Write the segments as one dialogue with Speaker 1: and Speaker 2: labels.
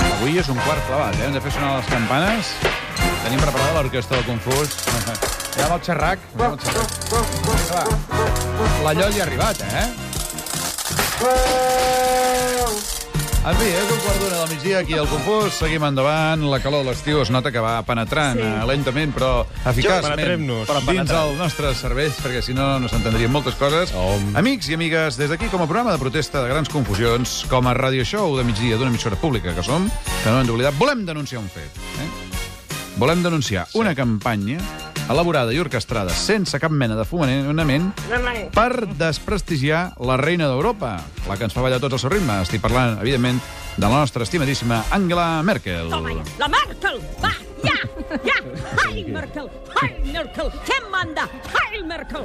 Speaker 1: Avui és un quart clavat, eh? Hem de fer sonar les campanes. Tenim preparada l'orquestra del Confús. Ja amb el xerrac. Anem al xerrac. Vinga, va. La lloll hi ha arribat, eh? En fi, és un quart d'una del migdia aquí al Confús. Seguim endavant. La calor de l'estiu es nota que va penetrant sí. lentament, però eficaçment
Speaker 2: penetrem-nos.
Speaker 1: però dins els nostres cervells, perquè si no, no s'entendrien moltes coses.
Speaker 2: Home.
Speaker 1: Amics i amigues, des d'aquí, com a programa de protesta de grans confusions, com a radio show de migdia d'una emissora pública que som, que no hem d'oblidar, volem denunciar un fet. Eh? Volem denunciar sí. una campanya elaborada i orquestrada sense cap mena de fomenament per desprestigiar la reina d'Europa, la que ens fa ballar tots al seu ritme. Estic parlant, evidentment, de la nostra estimadíssima Angela Merkel.
Speaker 3: Toma ja. La Merkel! Va, ja! Ja! Heil Merkel! Heil Merkel! Què em manda? Heil Merkel!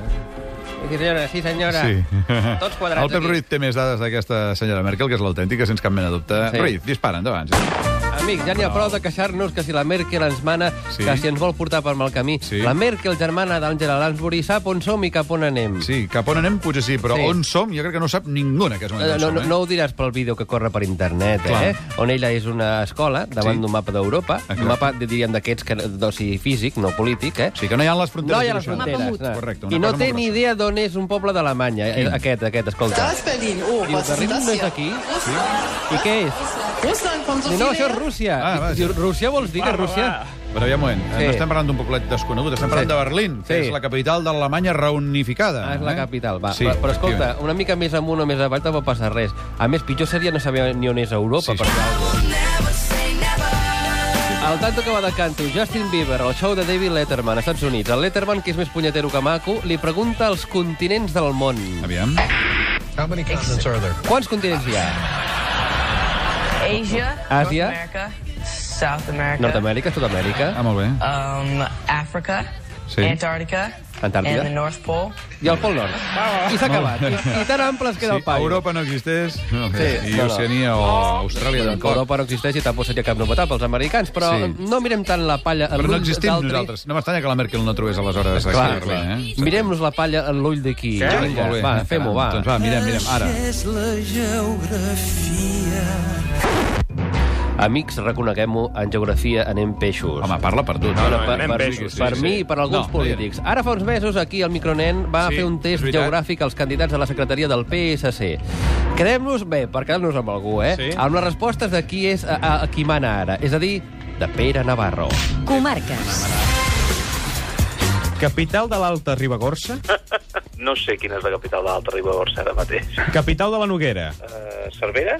Speaker 4: Sí, senyora, sí, senyora.
Speaker 1: Sí.
Speaker 4: Tots quadrats
Speaker 1: El Pep
Speaker 4: aquí.
Speaker 1: Ruiz té més dades d'aquesta senyora Merkel, que és l'autèntica, sense cap mena de dubte. Sí.
Speaker 4: Sí.
Speaker 1: Ruiz, dispara, endavant. Sí.
Speaker 4: Amics, ja n'hi ha prou de queixar-nos que si la Merkel ens mana,
Speaker 1: Sí.
Speaker 4: sí. que si ens vol portar per mal camí.
Speaker 1: Sí.
Speaker 4: La Merkel, germana d'Àngela Lansbury, sap on som i cap on anem.
Speaker 1: sí, cap on anem potser sí, però sí.
Speaker 4: Sí.
Speaker 1: on som jo crec que no ho sap ningú en aquest moment.
Speaker 4: No,
Speaker 1: on
Speaker 4: no,
Speaker 1: som,
Speaker 4: no,
Speaker 1: eh?
Speaker 4: no ho diràs pel vídeo que corre per internet,
Speaker 1: Clar.
Speaker 4: eh? On ella és una escola davant
Speaker 1: Sí.
Speaker 4: sí. d'un mapa d'Europa,
Speaker 1: Exacte.
Speaker 4: un mapa, diríem, d'aquests que- d'oci físic, no polític, eh?
Speaker 1: O sigui que no hi ha les
Speaker 4: No
Speaker 1: fronteres.
Speaker 4: hi ha les
Speaker 1: dibuixades.
Speaker 4: fronteres. no.
Speaker 1: Correcte, una
Speaker 4: I no
Speaker 1: cosa
Speaker 4: té
Speaker 1: molt
Speaker 4: ni
Speaker 1: grossa.
Speaker 4: idea d'on és un poble d'Alemanya, eh, aquest, aquest, escolta.
Speaker 5: Da ist Berlin. Oh,
Speaker 4: Diu,
Speaker 5: was ist
Speaker 4: Berlín
Speaker 5: das
Speaker 4: no és
Speaker 5: hier?
Speaker 4: aquí?
Speaker 5: Russland,
Speaker 4: I què és?
Speaker 5: Russland kommt so
Speaker 4: Diu, No,
Speaker 5: viele
Speaker 4: això és
Speaker 5: her.
Speaker 4: Rússia.
Speaker 1: Ah, va,
Speaker 4: I- diu,
Speaker 1: sí.
Speaker 4: Rússia vols dir que és Rússia?
Speaker 1: Però ja un moment, sí.
Speaker 4: Sí.
Speaker 1: no estem parlant d'un poblet desconegut, estem parlant
Speaker 4: Sí.
Speaker 1: de Berlín, que
Speaker 4: Sí.
Speaker 1: és la capital d'Alemanya reunificada.
Speaker 4: Ah, és la
Speaker 1: eh?
Speaker 4: capital, va. Sí, però, però escolta, una mica més amunt o més avall tampoc passa res. A més, pitjor seria no saber ni on és Europa.
Speaker 1: Sí,
Speaker 4: Sí,
Speaker 1: sí.
Speaker 4: per El tanto que va de canto, Justin Bieber, el show de David Letterman, als Estats Units. El Letterman, que és més punyetero que maco, li pregunta als continents del món.
Speaker 1: Aviam.
Speaker 6: How many continents are there?
Speaker 4: Quants continents hi ha?
Speaker 7: Asia,
Speaker 4: Asia.
Speaker 7: North America, South America,
Speaker 4: Nord-amèrica, Sud-amèrica...
Speaker 1: Ah, molt bé.
Speaker 7: um, Africa,
Speaker 1: Sí.
Speaker 7: Antarctica,
Speaker 4: Antàrtida.
Speaker 7: and the North Pole.
Speaker 4: I el Pol Nord. I s'ha acabat. I, I tan ample es queda
Speaker 1: Sí,
Speaker 4: el paio.
Speaker 1: Europa no existeix, no,
Speaker 4: Sí,
Speaker 1: sí, i
Speaker 4: no, no.
Speaker 1: Oceania o Austràlia
Speaker 4: Que
Speaker 1: tampoc.
Speaker 4: Europa no existeix i tampoc seria cap novetat pels americans, però
Speaker 1: Sí.
Speaker 4: sí. no mirem tant la palla a
Speaker 1: Però no
Speaker 4: l'ull
Speaker 1: existim nosaltres. No m'estanya que la Merkel no trobés aleshores.
Speaker 4: Clar,
Speaker 1: aquí,
Speaker 4: clar.
Speaker 1: Berlín, eh?
Speaker 4: Mirem-nos la palla a l'ull d'aquí. Vinga,
Speaker 1: Molt bé.
Speaker 4: va, fem-ho, va.
Speaker 1: Doncs va, mirem, mirem, ara.
Speaker 4: Amics, reconeguem-ho, en geografia anem peixos.
Speaker 1: Home, parla per tu. No,
Speaker 4: Però per,
Speaker 2: anem
Speaker 4: per,
Speaker 2: peixos, sí,
Speaker 4: per
Speaker 2: sí.
Speaker 4: mi i per alguns
Speaker 1: No,
Speaker 4: polítics. Ara fa uns mesos, aquí el Micronen va
Speaker 1: Sí,
Speaker 4: fer un
Speaker 1: és
Speaker 4: test
Speaker 1: veritat.
Speaker 4: geogràfic als candidats a la secretaria del PSC. Quedem-nos bé, per quedar-nos amb algú, eh?
Speaker 1: Sí.
Speaker 4: Amb les respostes de qui és a, a, a qui mana ara. És a dir, de Pere Navarro.
Speaker 3: Comarques.
Speaker 2: Capital de l'Alta Ribagorça?
Speaker 8: No sé quina és la capital de l'Alta Ribagorça ara mateix.
Speaker 2: Capital de la Noguera?
Speaker 9: Eh,
Speaker 8: Uh, Cervera?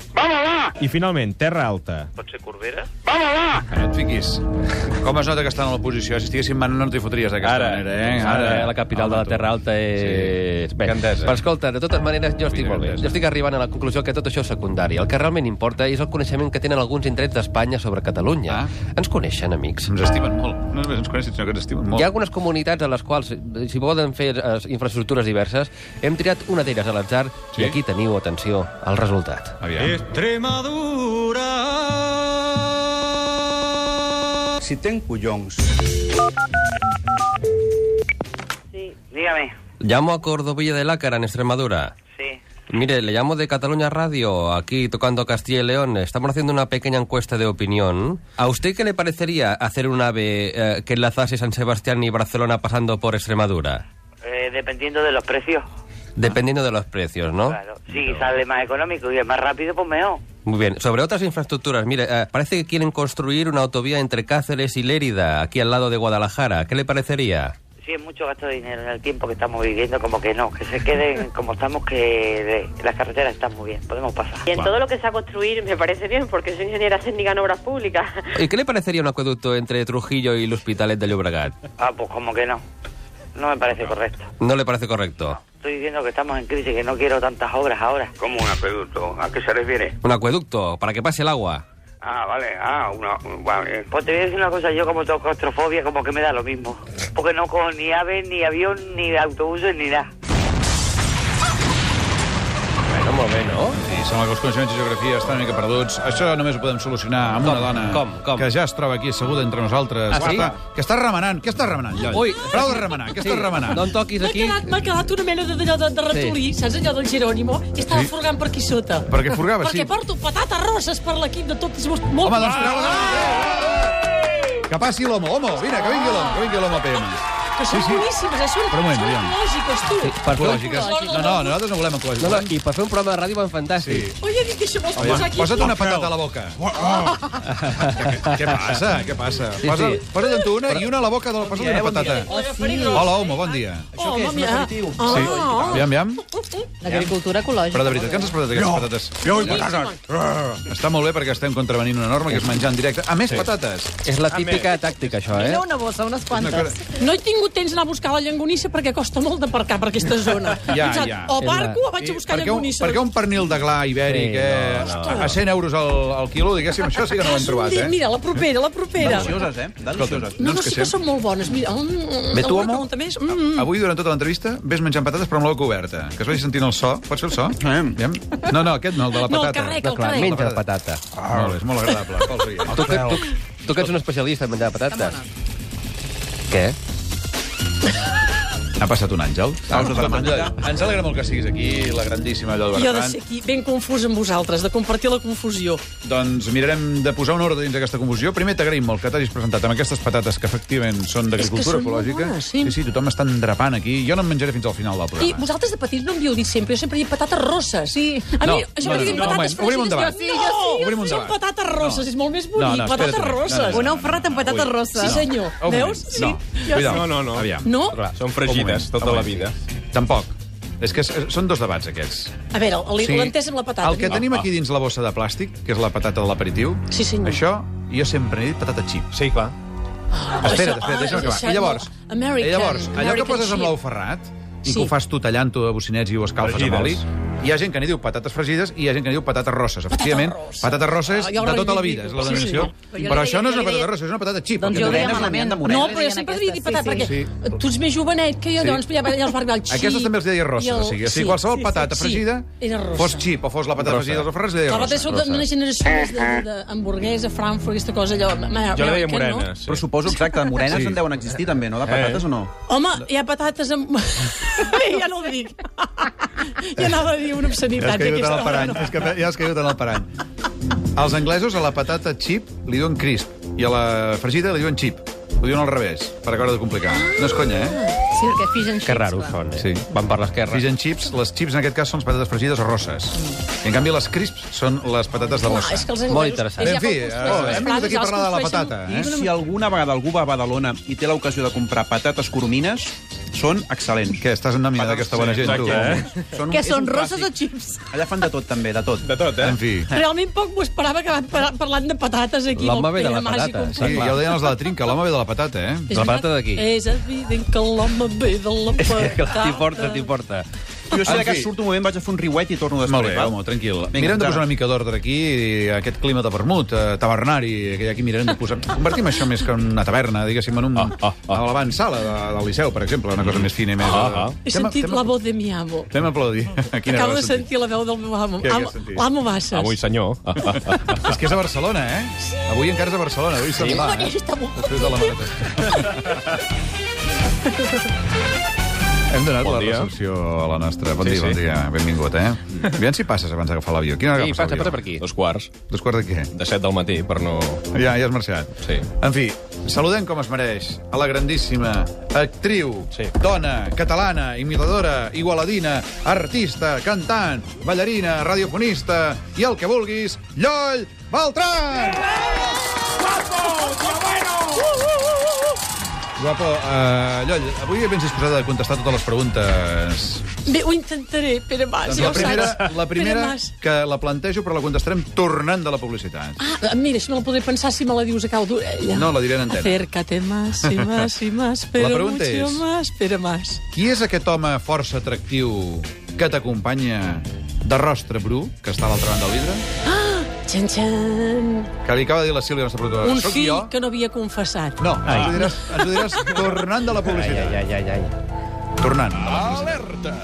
Speaker 2: I, finalment, Terra Alta.
Speaker 8: Pot ser Corbera?
Speaker 1: Que no et fiquis. Com es nota que estan a l'oposició? Si estiguessin manant no t'hi fotries d'aquesta
Speaker 2: Ara.
Speaker 1: manera, eh?
Speaker 4: Ara, la capital de la Terra Alta és... Bé,
Speaker 2: Gandesa.
Speaker 4: però escolta, de totes maneres, jo estic
Speaker 2: Mira,
Speaker 4: molt bé.
Speaker 2: Gandesa.
Speaker 4: Jo estic arribant a la conclusió que tot això és secundari. El que realment importa és el coneixement que tenen alguns indrets d'Espanya sobre Catalunya.
Speaker 1: Ah.
Speaker 4: Ens coneixen, amics.
Speaker 1: Ens estimen molt. No només ens coneixen, sinó que ens estimen molt.
Speaker 4: Hi ha algunes comunitats a les quals, eh, si poden fer eh, infraestructures diverses, hem triat una d'elles a l'atzar
Speaker 1: Sí?
Speaker 4: sí? i aquí teniu, atenció, el resultat.
Speaker 1: Aviam.
Speaker 9: Si ten collons.
Speaker 8: Sí. Dígame.
Speaker 4: Llamo a Cordovilla de Lácara, en Extremadura.
Speaker 8: Sí.
Speaker 4: Mire, le llamo de Cataluña Radio, aquí tocando Castilla y León. Estamos haciendo una pequeña encuesta de opinión. ¿A usted qué le parecería hacer un ave eh, que enlazase San Sebastián y Barcelona pasando por Extremadura?
Speaker 8: Eh, dependiendo de los precios.
Speaker 4: Dependiendo de los precios,
Speaker 9: Oh.
Speaker 4: ¿no?
Speaker 8: Claro. Si sale más económico y es más rápido, pues mejor.
Speaker 4: Muy bien. Sobre otras infraestructuras, mire, eh, parece que quieren construir una autovía entre Cáceres y Lérida, aquí al lado de Guadalajara. ¿Qué le parecería?
Speaker 8: Sí, es mucho gasto de dinero en el tiempo que estamos viviendo, como que no, que se queden como estamos, que de- las carreteras están muy bien, podemos pasar.
Speaker 10: Y en todo lo que sea construir me parece bien, porque soy ingeniera técnica en obras públicas.
Speaker 4: ¿Y qué le parecería un acueducto entre Trujillo y los Hospitalet de Llobregat?
Speaker 8: Ah, pues como que no. No me parece correcto.
Speaker 4: ¿No le parece correcto?
Speaker 8: Estoy diciendo que estamos en crisis, que no quiero tantas obras ahora.
Speaker 9: Com un acueducto? A què se refiere?
Speaker 4: Un acueducto, para que pase el agua.
Speaker 9: Ah, vale, ah, una... un- Vale.
Speaker 8: Pues te voy a decir una cosa, yo como tengo claustrofobia, como que me da lo mismo. Porque no cojo ni ave, ni avión, ni autobuses, ni nada.
Speaker 4: Bueno, molt bé, no?
Speaker 1: Sí, sembla que els coneixements de geografia estan una mica perduts. Això només ho podem solucionar amb
Speaker 4: Com?
Speaker 1: una dona
Speaker 4: Com? Com?
Speaker 1: que ja es troba aquí asseguda entre nosaltres.
Speaker 4: Ah,
Speaker 1: que,
Speaker 4: sí?
Speaker 1: està, que està remenant. Què estàs remenant, Lloll?
Speaker 4: Ui,
Speaker 1: Prou de remenar. Què estàs remenant?
Speaker 4: No em toquis
Speaker 5: M'ha
Speaker 4: aquí.
Speaker 5: quedat, m'ha quedat una mena de, d'allò de, de ratolí, sí. saps allò del Jerónimo? I estava
Speaker 1: Sí.
Speaker 5: sí. furgant per aquí sota.
Speaker 1: Per què furgava,
Speaker 5: Perquè
Speaker 1: sí.
Speaker 5: porto patates roses per l'equip de tots els... Molt...
Speaker 1: Home, doncs treu-la. Que passi l'homo, homo, vine, que vingui l'homo, que vingui l'homo a PM.
Speaker 5: Ah, Que són
Speaker 1: Sí, sí.
Speaker 5: boníssimes, eh? Són,
Speaker 1: Però un moment,
Speaker 5: són
Speaker 1: aviam.
Speaker 5: ecològiques, tu.
Speaker 4: Sí, per fer-
Speaker 1: Ecològiques. No, no, nosaltres no volem
Speaker 4: No, no,
Speaker 1: ecològiques.
Speaker 4: I per fer un programa de ràdio van fantàstic.
Speaker 1: Sí.
Speaker 5: Oi, Eric, això vols
Speaker 1: Home,
Speaker 5: posar aquí?
Speaker 1: posa't una patata a la boca. Què, què passa? Què passa?
Speaker 4: oh. Sí,
Speaker 1: Posa,
Speaker 4: sí.
Speaker 1: posa't en tu una i una a la boca. De la, posa't una
Speaker 4: bon dia. eh?
Speaker 1: patata.
Speaker 5: Hola, Feri.
Speaker 1: Hola, homo, bon dia.
Speaker 5: Això què és, un aperitiu? Ah,
Speaker 1: Sí.
Speaker 5: ah,
Speaker 1: Aviam, aviam.
Speaker 5: L'agricultura ecològica.
Speaker 1: Però de veritat, que ens has portat aquestes patates? Ah.
Speaker 9: Yo voy patatas.
Speaker 1: Està molt bé perquè estem contravenint una norma que és menjar en directe. A més, patates.
Speaker 4: És la típica tàctica, això, eh?
Speaker 5: una bossa, unes
Speaker 1: Una
Speaker 5: quantes. No he tingut temps d'anar a buscar la llangonissa perquè costa molt d'aparcar per aquesta zona.
Speaker 1: Ja,
Speaker 5: He pensat,
Speaker 1: ja. Eh,
Speaker 5: O
Speaker 4: És
Speaker 5: barco
Speaker 4: la-
Speaker 5: o vaig a buscar
Speaker 1: Perquè un,
Speaker 5: llangonissa.
Speaker 1: perquè un pernil de gla ibèric
Speaker 4: Sí,
Speaker 1: eh,
Speaker 4: no,
Speaker 1: a- a 100 euros al, al quilo, diguéssim, això sí que no ho hem trobat,
Speaker 5: Dit,
Speaker 1: eh?
Speaker 5: mira, la propera, la propera.
Speaker 11: Delicioses, eh? Delicioses.
Speaker 1: ens
Speaker 5: No, no, sí que
Speaker 1: queixem.
Speaker 5: són molt bones. Mira, mm,
Speaker 1: Bé, tu,
Speaker 5: alguna
Speaker 1: home?
Speaker 5: pregunta Més? Mm,
Speaker 1: A- Avui, durant tota l'entrevista, ves menjant patates però amb la boca oberta. Que es vagi sentint el so. Pots fer el so?
Speaker 5: Eh.
Speaker 1: Aviam. No, no, aquest no, el de la
Speaker 5: No, el
Speaker 1: patata.
Speaker 5: carrer, que
Speaker 4: No,
Speaker 5: el
Speaker 4: clar,
Speaker 5: carrer.
Speaker 4: menja la patata.
Speaker 1: Molt bé, és molt agradable. Pels oients.
Speaker 4: Tu, que, tu, tu que ets un especialista en menjar patates. Què?
Speaker 1: Ha passat un àngel.
Speaker 11: Ah, us demano.
Speaker 1: Ens alegra molt que siguis aquí, la grandíssima Llol
Speaker 5: jo he de
Speaker 1: Bertran.
Speaker 5: ser aquí ben confús amb vosaltres, de compartir la confusió.
Speaker 1: Doncs mirarem de posar un ordre dins d'aquesta confusió. Primer t'agraïm molt que t'hagis presentat amb aquestes patates que efectivament són d'agricultura
Speaker 5: són molt
Speaker 1: ecològica.
Speaker 5: bones, sí.
Speaker 1: sí, sí, tothom està endrapant aquí. Jo no em menjaré fins al final del
Speaker 5: I
Speaker 1: programa.
Speaker 5: vosaltres de petits no em havíeu dit sempre, jo sempre he dit patates rosses. Sí. A mi,
Speaker 1: No,
Speaker 5: això
Speaker 1: no,
Speaker 5: no, que diguin
Speaker 1: no, no,
Speaker 5: patates
Speaker 1: un moment, obrim un
Speaker 5: fregides,
Speaker 1: debat.
Speaker 5: jo, no,
Speaker 1: sí, obrim un
Speaker 5: són
Speaker 1: debat.
Speaker 5: patates rosses,
Speaker 1: No.
Speaker 5: és molt més bonic,
Speaker 1: No, no,
Speaker 5: patates
Speaker 1: espera't, no,
Speaker 5: roses.
Speaker 1: no, no, no,
Speaker 5: Una
Speaker 1: no,
Speaker 5: ferrata amb patates rosses. Sí, senyor.
Speaker 1: Un moment.
Speaker 5: Veus? Sí.
Speaker 1: No,
Speaker 5: jo
Speaker 1: cuidao.
Speaker 5: sé.
Speaker 2: No, no, no.
Speaker 1: Aviam.
Speaker 5: No?
Speaker 1: Clar,
Speaker 2: Són
Speaker 1: un
Speaker 2: fregides
Speaker 1: moment,
Speaker 2: tota
Speaker 1: un
Speaker 2: la
Speaker 1: moment.
Speaker 2: vida.
Speaker 1: Tampoc. És que s- són dos debats, aquests.
Speaker 5: A veure, el-
Speaker 1: Sí.
Speaker 5: l'entesa amb la patata.
Speaker 1: El que tenim aquí dins la bossa de plàstic, que és la patata de l'aperitiu,
Speaker 5: Sí, senyor.
Speaker 1: això jo sempre he dit patata xip.
Speaker 2: Sí, clar.
Speaker 5: Ah,
Speaker 1: Espera't, espera't, deixa'm acabar. I llavors,
Speaker 5: American,
Speaker 1: i llavors allò que
Speaker 5: American
Speaker 1: poses amb
Speaker 5: cheese.
Speaker 1: l'ou ferrat i que
Speaker 5: Sí.
Speaker 1: ho fas tu tallant-ho de bocinets i ho escalfes amb oli,
Speaker 2: Fregides.
Speaker 1: hi ha gent que n'hi diu patates fregides i hi ha gent que n'hi diu patates rosses. Efectivament,
Speaker 5: rossa.
Speaker 1: patates rosses
Speaker 5: Ah, jo
Speaker 1: de
Speaker 5: la
Speaker 1: tota la vida,
Speaker 5: reivindico.
Speaker 1: és la
Speaker 5: Sí,
Speaker 1: denominació.
Speaker 5: sí. Però jo
Speaker 1: Però
Speaker 5: li
Speaker 1: això
Speaker 5: deia-
Speaker 1: no és
Speaker 5: jo
Speaker 1: una
Speaker 5: li deia-
Speaker 1: patata rossa, és una patata xip.
Speaker 11: Doncs jo
Speaker 1: perquè
Speaker 11: deia malament. De
Speaker 5: No,
Speaker 11: Morella
Speaker 5: però jo sempre havia dit patata, perquè
Speaker 1: sí.
Speaker 5: tu ets més jovenet que jo,
Speaker 1: Sí.
Speaker 5: llavors ja, ja els va arribar el xip.
Speaker 1: Aquestes també els deia rosses, o sigui, o sigui qualsevol patata fregida,
Speaker 5: Era rossa.
Speaker 1: fos xip o fos la patata
Speaker 2: Rossa.
Speaker 1: fregida dels alfarrats, li deia
Speaker 5: Clar,
Speaker 1: rossa.
Speaker 5: sóc d'una generació més de- de- d'hamburguesa, Frankfurt, aquesta cosa, allò...
Speaker 2: Jo la deia
Speaker 5: American,
Speaker 2: morena,
Speaker 5: No?
Speaker 2: sí.
Speaker 11: Però suposo, exacte, de morenes en deuen existir també,
Speaker 1: Eh.
Speaker 11: no? De patates o no?
Speaker 5: Home, hi ha patates amb... Bé, ja no ho dic. ja anava a dir una
Speaker 1: Ja has
Speaker 5: obscenitat.
Speaker 1: caigut en el
Speaker 5: aquesta hora
Speaker 1: parany. És que ja has caigut en el parany. Els anglesos a la patata xip li diuen crisp i a la fregida li diuen xip. Ho diuen al revés, per acabar de complicar.
Speaker 5: Ah.
Speaker 1: No és conya, eh?
Speaker 5: Sí, perquè fixen
Speaker 4: Que raro
Speaker 5: Ah.
Speaker 4: són, eh?
Speaker 1: Sí.
Speaker 4: Van per l'esquerra.
Speaker 1: Figen xips, les xips en aquest cas són les patates fregides o rosses. I en canvi les crisps són les patates de
Speaker 5: Clar,
Speaker 1: bossa.
Speaker 5: és que els
Speaker 4: Molt
Speaker 5: anglesos...
Speaker 4: interessant.
Speaker 5: ells
Speaker 1: Bé, en
Speaker 5: ja
Speaker 1: fi,
Speaker 5: quan
Speaker 1: eh, hem
Speaker 5: construeixen els
Speaker 1: vingut aquí a
Speaker 5: plats,
Speaker 1: parlar de la
Speaker 5: els construeixen-
Speaker 1: patata.
Speaker 11: I
Speaker 1: Eh?
Speaker 11: si alguna vegada algú va a Badalona i té l'ocasió de comprar patates coromines, són excel·lents.
Speaker 1: Que estàs en nòmina d'aquesta bona gent, tu.
Speaker 2: Exacte,
Speaker 11: Són,
Speaker 5: eh? Que
Speaker 11: és
Speaker 5: són
Speaker 11: un
Speaker 5: roses o
Speaker 11: clàssic.
Speaker 5: xips?
Speaker 11: Allà fan de tot, també, de tot.
Speaker 2: De tot, eh?
Speaker 1: En fi.
Speaker 5: Realment poc m'ho esperava que van par- parlant de patates aquí.
Speaker 4: L'home
Speaker 5: del
Speaker 4: ve de la
Speaker 5: Pere Mas i
Speaker 4: patata,
Speaker 1: Sí,
Speaker 5: companyia.
Speaker 1: ja ho deien els de la trinca, l'home ve de la patata, eh?
Speaker 5: És
Speaker 4: La patata
Speaker 5: veritat?
Speaker 4: d'aquí.
Speaker 5: És evident que l'home ve de la patata.
Speaker 4: T'hi porta, t'hi porta.
Speaker 11: Jo si
Speaker 1: En
Speaker 11: de cas
Speaker 1: fi.
Speaker 11: surto un moment, vaig a fer un riuet i torno després.
Speaker 1: Molt bé,
Speaker 11: val?
Speaker 1: home, tranquil.
Speaker 11: Vinga,
Speaker 1: Mirem de
Speaker 11: endavant.
Speaker 1: posar una mica d'ordre aquí, aquest clima de vermut, eh, tabernari, que aquí mirarem de posar... Convertim això més que en una taverna, diguéssim, en un...
Speaker 2: Ah, ah, ah.
Speaker 1: A l'avançala de, del Liceu, per exemple, una cosa més fina i més...
Speaker 2: Ah, ah.
Speaker 5: He sentit la voz de mi amo.
Speaker 1: Fem aplaudir. Quina
Speaker 5: Acabo
Speaker 1: veu
Speaker 5: de
Speaker 1: has sentit?
Speaker 5: sentir la veu del meu amo.
Speaker 1: Què, què
Speaker 5: Amo-
Speaker 1: has sentit?
Speaker 5: L'amo Bassas.
Speaker 2: Avui, senyor.
Speaker 1: És que és a Barcelona, eh? Avui encara és a Barcelona. Avui se'n va, eh? Després de la marató. Hem donat
Speaker 2: Bon
Speaker 1: la
Speaker 2: dia.
Speaker 1: recepció a la nostra. Bon
Speaker 2: Sí,
Speaker 1: dia, bon
Speaker 2: sí.
Speaker 1: dia. Benvingut, eh? Aviam si passes abans d'agafar l'avió. Quina hora
Speaker 4: Sí,
Speaker 1: agafes
Speaker 4: passa,
Speaker 1: l'avió?
Speaker 4: passa per aquí.
Speaker 2: Dos quarts
Speaker 1: Dos quarts de què?
Speaker 2: de set del matí, per no...
Speaker 1: Ja, ja has marxat.
Speaker 2: Sí.
Speaker 1: En fi, saludem com es mereix a la grandíssima actriu,
Speaker 2: Sí.
Speaker 1: dona, catalana, imitadora, igualadina, artista, cantant, ballarina, radiofonista i el que vulguis, Lloll Beltrán! Guapo, uh, Lloll, avui vens disposada de contestar totes les preguntes.
Speaker 5: Bé, ho intentaré, Pere Mas,
Speaker 1: Doncs la
Speaker 5: ja ho
Speaker 1: primera,
Speaker 5: saps.
Speaker 1: la primera
Speaker 5: Pere Mas.
Speaker 1: que la plantejo, però la contestarem tornant de la publicitat.
Speaker 5: Ah, mira, això no la podré pensar si me la dius a cau d'orella.
Speaker 1: No, la diré en antena.
Speaker 5: Acércate más y más y más,
Speaker 1: La
Speaker 5: pero
Speaker 1: pregunta
Speaker 5: mucho
Speaker 1: és-
Speaker 5: más, Pere Mas.
Speaker 1: Qui és aquest home força atractiu que t'acompanya de rostre bru, que està a l'altra banda del vidre?
Speaker 5: Txan, txan.
Speaker 1: Que li acaba de dir la Sílvia, la nostra productora.
Speaker 5: Ah, Un
Speaker 1: Soc
Speaker 5: fill
Speaker 1: jo?
Speaker 5: que Ah. no havia confessat.
Speaker 1: No, ens ho, diràs, ens ho diràs tornant de la publicitat.
Speaker 4: ai, ai, ai.
Speaker 1: Tornant. Alerta!